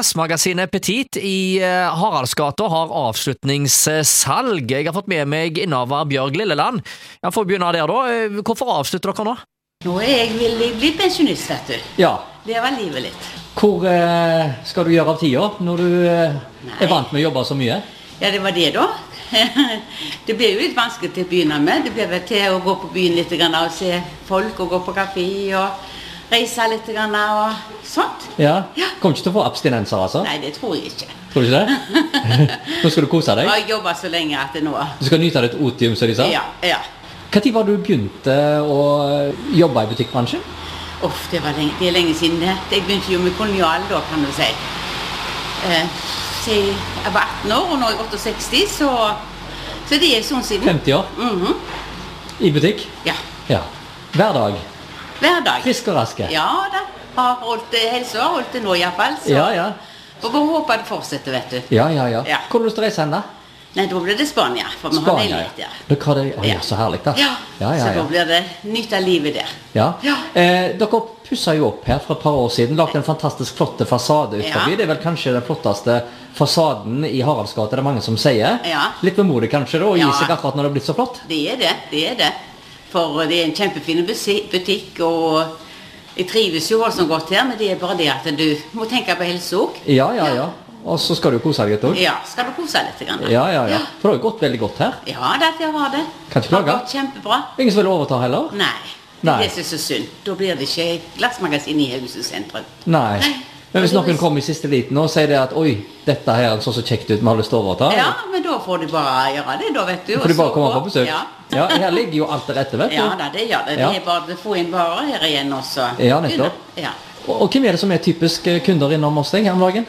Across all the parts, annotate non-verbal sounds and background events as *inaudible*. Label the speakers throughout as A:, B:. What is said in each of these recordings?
A: Glassmagasinet Petit i eh, Haraldsgata har avslutningssalg. Jeg har fått med meg innehaver Bjørg Lilleland. Jeg får begynne der, da. Eh, Hvorfor avslutter dere nå?
B: Nå er jeg villig blitt pensjonist, vet du.
A: Ja,
B: Leve livet litt.
A: hvor skal du gjøre av tida når du
C: eh,
B: er
A: vant med å jobbe så mye?
B: Ja, det var det, da. *laughs* Det blir jo litt vanskelig til å begynne med. Det blir vel til å gå på byen litt grann, og se folk, og gå på kafé og reise litt grann, og sånt.
C: Ja.
B: Ja.
C: Kommer ikke til å få abstinenser, altså?
B: Nei, det tror jeg ikke.
C: Tror du ikke det? Nå skal du kose
B: Jeg
C: deg.
B: har jobba så lenge at det nå
C: Du skal nyte ditt otium, som de sa.
B: Ja. ja.
C: Når var det du begynte å eh, jobbe i butikkbransjen?
B: Uff, det, var lenge, det er lenge siden. det. Jeg begynte jo med kolonial da, kan du si. Eh, så jeg jeg var 18 år, og nå er jeg 68, så, så det er en stund siden.
C: 50 år?
B: Mhm,
C: I butikk?
B: Ja.
C: Ja. Hver dag.
B: Hver dag.
C: Frisk og rask.
B: Ja da. Har holdt det, helsa har holdt det nå iallfall. Så
C: ja, ja.
B: får bare håpe det fortsetter, vet du.
C: Ja, ja, ja.
B: Ja.
C: Hvor har du lyst til å reise hen, da?
B: Nei, da blir det Spania, for vi har
C: Spania.
B: leilighet
C: ja.
B: der.
C: Dere har det Oi,
B: Ja.
C: så herlig, da.
B: Ja.
C: ja, ja.
B: Så da
C: ja.
B: blir det nytt av livet der.
C: ja.
B: Ja.
C: Eh, dere pussa jo opp her for et par år siden. Lagde en fantastisk flott fasade ut
B: Ja.
C: forbi. Det er vel kanskje den flotteste fasaden i Haraldsgata, det er mange som sier.
B: Ja.
C: Litt vemodig kanskje, da, å gi
B: Ja.
C: seg akkurat når det er blitt så flott.
B: Det er det. det er det. For eh, det er en kjempefin busi- butikk, og jeg trives jo voldsomt godt her, men det er bare det at du må tenke på helse òg.
C: Ja, ja, ja. Og så skal du kose deg litt òg.
B: Ja, skal du kose deg litt? Grann.
C: Mm. Ja, ja, ja. For det har jo gått veldig godt her.
B: Ja da, det har det.
C: Kan ikke klage.
B: Har gått Kjempebra.
C: Ingen som vil overta heller?
B: Nei. Det
C: Nei.
B: er det som er så synd. Da blir det ikke et glassmagasin i Haugesund sentrum.
C: Nei.
B: Nei.
C: Men hvis
B: Ja, det
C: noen
B: er-
C: kommer i siste liten og sier det at oi, dette her altså så så kjekt ut, vi har lyst til å overta.
B: Ja, men da får du bare gjøre det, da, vet du. og
C: Ah. Får de
B: så
C: bare komme
B: gå.
C: på besøk.
B: Ja.
C: Ja, her ligger jo alt til rette, vet du.
B: ja da, det gjør det.
C: Ja.
B: Det er bare å få inn varer her igjen også.
C: Ja, nettopp.
B: Ja.
C: Og, og hvem er det som er typisk eh, kunder innom oss deg her om dagen?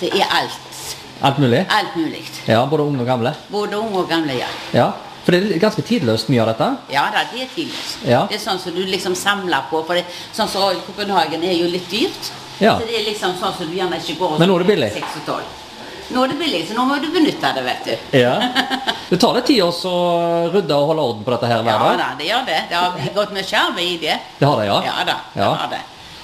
B: Det er alt.
C: Alt mulig?
B: Alt mulig.
C: Ja, både unge og gamle.
B: Både unge og gamle, ja.
C: Ja. For det er ganske tidløst mye av dette.
B: Ja da, det er tidligst.
C: Ja.
B: Det er sånn som du liksom samler på. For det, sånn som i Kopenhagen er jo litt dyrt.
C: Ja.
B: Så det er liksom sånn som du gjerne ikke går og
C: Men nå er det billig.
B: Seks og tolv. Nå er det billig, så nå må du benytte det, vet du.
C: Ja. *laughs* Det tar litt tid også å rydde og holde orden på dette her
B: Ja
C: hver dag.
B: da, det gjør det. Det har gått mye arbeid i det.
C: Det har det, ja.
B: Ja da, det
C: Ja.
B: har det.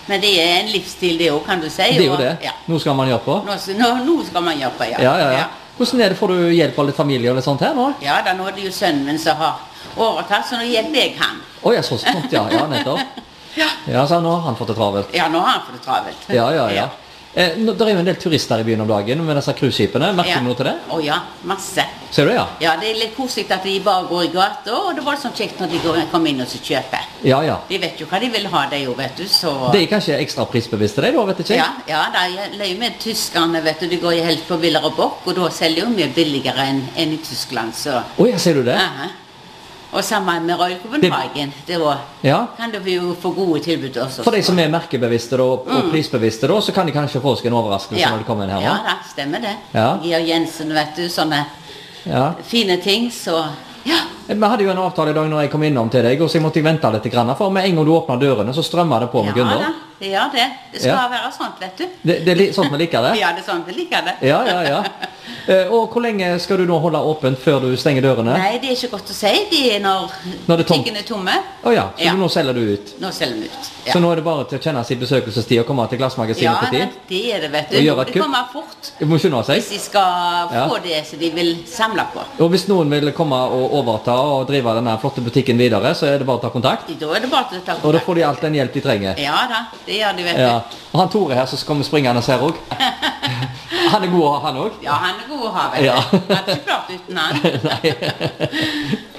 B: Men det er en livsstil det òg, kan du si.
C: Det er jo
B: og-
C: det.
B: Ja.
C: Noe skal man gjøre på.
B: Nå, s- nå, nå skal man jobbe, ja.
C: Ja, ja, ja. Hvordan er det, får du hjelp av litt familie og litt sånt her nå?
B: Ja da, nå er det jo sønnen min som har overtatt, så nå hjelper jeg han.
C: Å ja, sånn sånt, ja. Ja, nettopp.
B: *laughs* Ja.
C: Ja, så nå har han fått det travelt.
B: Ja, nå har han fått det travelt.
C: Ja, ja, ja. Eh, nå- der er jo en del turister i byen om dagen med disse cruiseskipene. Merker
B: Ja.
C: du noe til det?
B: Å ja, masse.
C: Ser du, ja?
B: Ja, det er litt koselig at de bare går i gata, og det var sånn kjekt når de går- kom inn og så kjøper.
C: Ja, ja.
B: De vet jo hva de vil ha, de jo, vet du, så
C: Det er kanskje ekstra prisbevisst til deg, da, vet ikke jeg?
B: ja, ja, de er jo med tyskerne, vet du. De går jo helt på Biller og Bock, og da selger jo mye billigere enn enn i Tyskland, så
C: Å ja, ser du det?
B: Aha. Og sammen med Royal Copenhagen. Det var,
C: Ja.
B: kan du jo få gode tilbud også.
C: For de som er merkebevisste da, og og prisbevisste, da, så kan de kanskje få seg en overraskelse når de kommer inn her
B: Mm. Ja
C: nå?
B: da, stemmer det.
C: Ja.
B: Georg Jensen, vet du. Sånne
C: Ja.
B: fine ting, så Ja.
C: Vi hadde jo en avtale i dag når jeg kom innom til deg, og så jeg måtte vente litt, grann, for med en gang du åpna dørene, så strømmer det på med
B: ja
C: kunder.
B: da, det gjør det. Det skal
C: Ja.
B: være sånt, vet du.
C: Det, det er li- sånn vi liker det.
B: *laughs* Ja, det er sånn vi liker det.
C: Ja, ja, ja. Eh, Og hvor lenge skal du nå holde åpent før du stenger dørene?
B: Nei, det er ikke godt å si. Det er når,
C: Når det er tomt.
B: butikkene er tomme.
C: Å ja, så
B: Ja.
C: du nå selger du ut.
B: Nå selger vi ut.
C: Så nå er det bare til å kjenne sin besøkelsestid og komme til
B: ja,
C: Glassmagasinet på
B: nei,
C: tid?
B: det er det, vet
C: Og
B: du.
C: gjør et
B: Det
C: kupp.
B: kommer fort
C: Det må skynde seg.
B: hvis de skal
C: Ja.
B: få det som de vil samle på.
C: Og hvis noen vil komme og overta og drive denne flotte butikken videre, så er det bare å ta kontakt.
B: Da er det bare til å ta
C: Og da får de alt den hjelp de trenger.
B: Ja da, det gjør de, vet
C: Ja.
B: du.
C: Og han Tore her som kommer springende her òg. Han er god å ha, han òg.
B: Ja, han er god å ha, vet du.
C: Ja.
B: Hadde ikke klart uten han.
C: Nei.